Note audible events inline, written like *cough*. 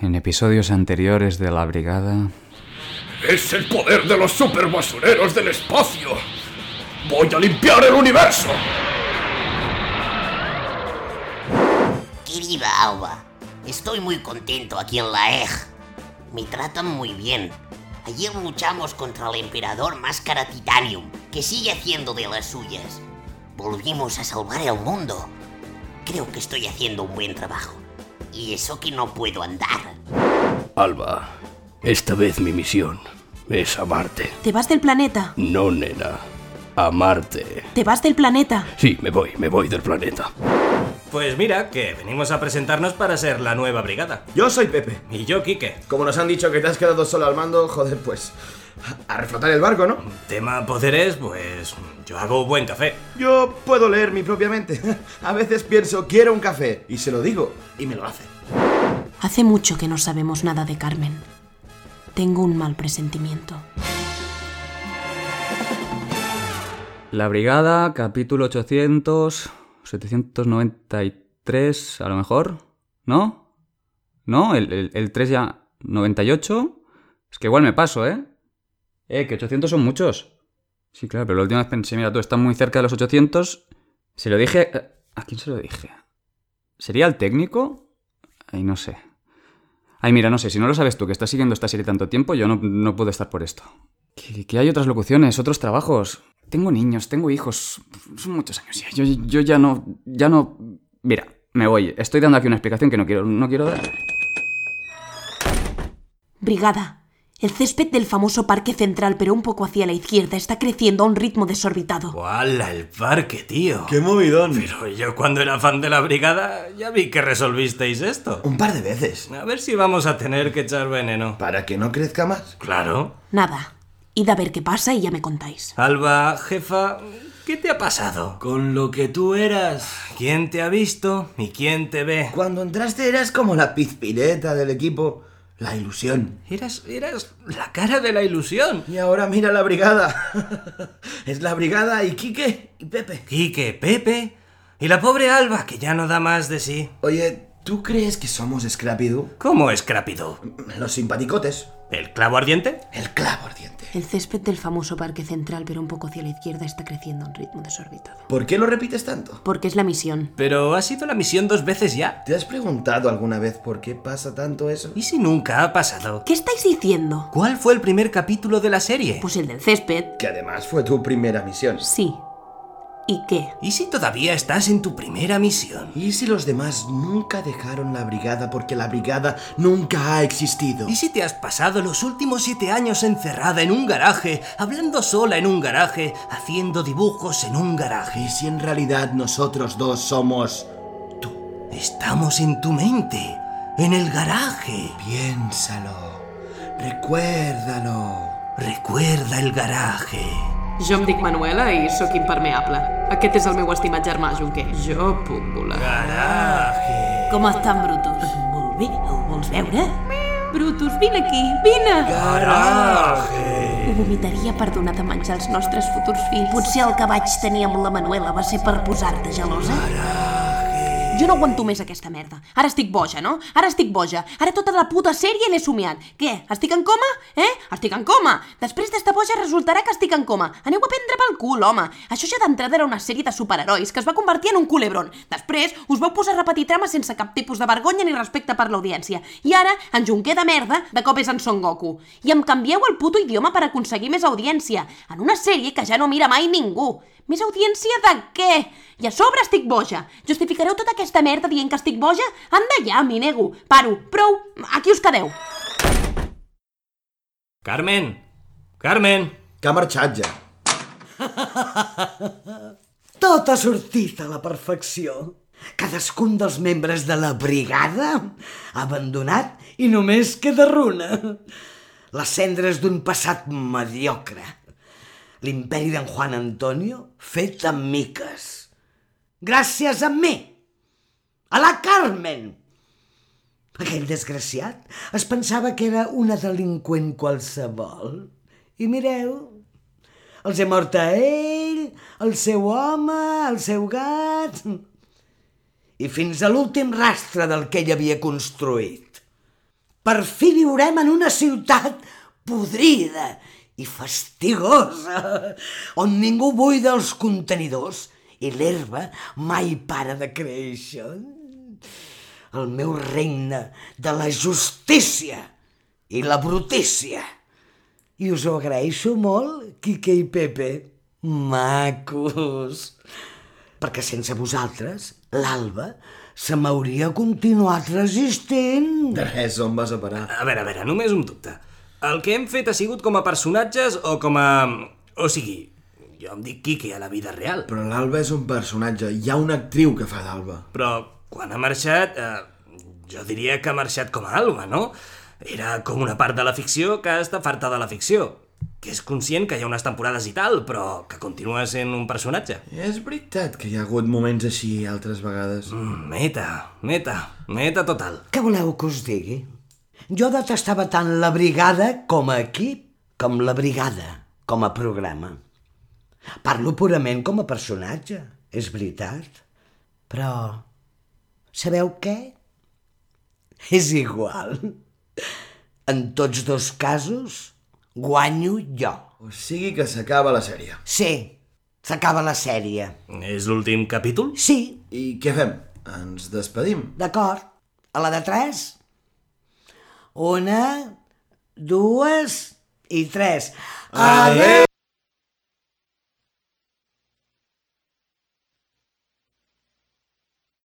En episodios anteriores de La Brigada... ¡Es el poder de los superbasureros del espacio! ¡Voy a limpiar el universo! Querida Alba, estoy muy contento aquí en la EJ. Me tratan muy bien. Ayer luchamos contra el emperador Máscara Titanium, que sigue haciendo de las suyas. Volvimos a salvar el mundo. Creo que estoy haciendo un buen trabajo. Y eso que no puedo andar. Alba, esta vez mi misión es amarte. Te vas del planeta. No, nena, amarte. Te vas del planeta. Sí, me voy, me voy del planeta. Pues mira, que venimos a presentarnos para ser la nueva brigada. Yo soy Pepe. Y yo, Quique. Como nos han dicho que te has quedado solo al mando, joder, pues. A reflotar el barco, ¿no? Tema poderes, pues. Yo hago buen café. Yo puedo leer mi propia mente. A veces pienso, quiero un café, y se lo digo, y me lo hace. Hace mucho que no sabemos nada de Carmen. Tengo un mal presentimiento. La Brigada, capítulo 800... 793, a lo mejor. ¿No? ¿No? El, el, el 3 ya... 98. Es que igual me paso, ¿eh? Eh, que 800 son muchos. Sí, claro, pero la última vez pensé, mira, tú estás muy cerca de los 800. Se lo dije... ¿A quién se lo dije? ¿Sería al técnico? Ay, no sé. Ay, mira, no sé, si no lo sabes tú, que estás siguiendo esta serie tanto tiempo, yo no, no puedo estar por esto. Que, que hay otras locuciones, otros trabajos. Tengo niños, tengo hijos. Son muchos años ya. Yo, yo ya no. Ya no. Mira, me voy. Estoy dando aquí una explicación que no quiero. No quiero dar. Brigada. El césped del famoso parque central, pero un poco hacia la izquierda, está creciendo a un ritmo desorbitado. ¡Hala, el parque, tío! ¡Qué movidón! Pero yo cuando era fan de la brigada ya vi que resolvisteis esto. Un par de veces. A ver si vamos a tener que echar veneno. Para que no crezca más. Claro. Nada. Id a ver qué pasa y ya me contáis. Alba, jefa, ¿qué te ha pasado? Con lo que tú eras. ¿Quién te ha visto y quién te ve? Cuando entraste eras como la pizpireta del equipo. La ilusión. Eras, eras la cara de la ilusión. Y ahora mira la brigada. *laughs* es la brigada y Quique y Pepe. Quique, Pepe y la pobre Alba, que ya no da más de sí. Oye, ¿tú crees que somos Scrapido? ¿Cómo Scrapido? Los simpaticotes. ¿El clavo ardiente? El clavo ardiente. El césped del famoso parque central, pero un poco hacia la izquierda, está creciendo a un ritmo desorbitado. ¿Por qué lo repites tanto? Porque es la misión. Pero ha sido la misión dos veces ya. ¿Te has preguntado alguna vez por qué pasa tanto eso? ¿Y si nunca ha pasado? ¿Qué estáis diciendo? ¿Cuál fue el primer capítulo de la serie? Pues el del césped. Que además fue tu primera misión. Sí. ¿Y qué? ¿Y si todavía estás en tu primera misión? ¿Y si los demás nunca dejaron la brigada porque la brigada nunca ha existido? ¿Y si te has pasado los últimos siete años encerrada en un garaje, hablando sola en un garaje, haciendo dibujos en un garaje? ¿Y si en realidad nosotros dos somos tú? Estamos en tu mente, en el garaje. Piénsalo, recuérdalo. Recuerda el garaje. Jo em dic Manuela i sóc impermeable. Aquest és el meu estimat germà, Junquer. Jo puc volar. Garaje! Com estan, Brutus? Molt bé, ho vols veure? Brutus, vine aquí, vine! Garaje! Ho vomitaria per donar de menjar als nostres futurs fills. Potser el que vaig tenir amb la Manuela va ser per posar-te gelosa? Jo no aguanto més aquesta merda. Ara estic boja, no? Ara estic boja. Ara tota la puta sèrie l'he somiat. Què? Estic en coma? Eh? Estic en coma! Després d'estar boja resultarà que estic en coma. Aneu a prendre pel cul, home. Això ja d'entrada era una sèrie de superherois que es va convertir en un culebron. Després us vau posar a repetir trames sense cap tipus de vergonya ni respecte per l'audiència. I ara, en Junquer de merda, de cop és en Son Goku. I em canvieu el puto idioma per aconseguir més audiència. En una sèrie que ja no mira mai ningú. Més audiència de què? I a sobre estic boja. Justificareu tota aquesta merda dient que estic boja? Anda ja, m'hi nego. Paro, prou, aquí us quedeu. Carmen! Carmen! Que ha *laughs* marxat ja. Tot ha sortit Tota a la perfecció. Cadascun dels membres de la brigada ha abandonat i només queda runa. Les cendres d'un passat mediocre l'imperi d'en Juan Antonio fet amb miques. Gràcies a mi, a la Carmen. Aquell desgraciat es pensava que era una delinqüent qualsevol. I mireu, els he mort a ell, el seu home, el seu gat... I fins a l'últim rastre del que ell havia construït. Per fi viurem en una ciutat podrida i fastigosa, on ningú buida els contenidors i l'herba mai para de créixer. El meu regne de la justícia i la brutícia. I us ho agraeixo molt, Quique i Pepe. Macos! Perquè sense vosaltres, l'alba se m'hauria continuat resistint. De res, on vas a parar? A veure, a veure, només un dubte. El que hem fet ha sigut com a personatges o com a... O sigui, jo em dic Quique a la vida real. Però l'Alba és un personatge, hi ha una actriu que fa d'Alba. Però quan ha marxat, eh, jo diria que ha marxat com a Alba, no? Era com una part de la ficció que està farta de la ficció. Que és conscient que hi ha unes temporades i tal, però que continua sent un personatge. És veritat que hi ha hagut moments així altres vegades. Mm, meta, meta, meta total. Què voleu que us digui? Jo detestava tant la brigada com a equip, com la brigada, com a programa. Parlo purament com a personatge, és veritat. Però... Sabeu què? És igual. En tots dos casos, guanyo jo. O sigui que s'acaba la sèrie. Sí, s'acaba la sèrie. És l'últim capítol? Sí. I què fem? Ens despedim. D'acord. A la de tres? Una, dues i tres. Adéu!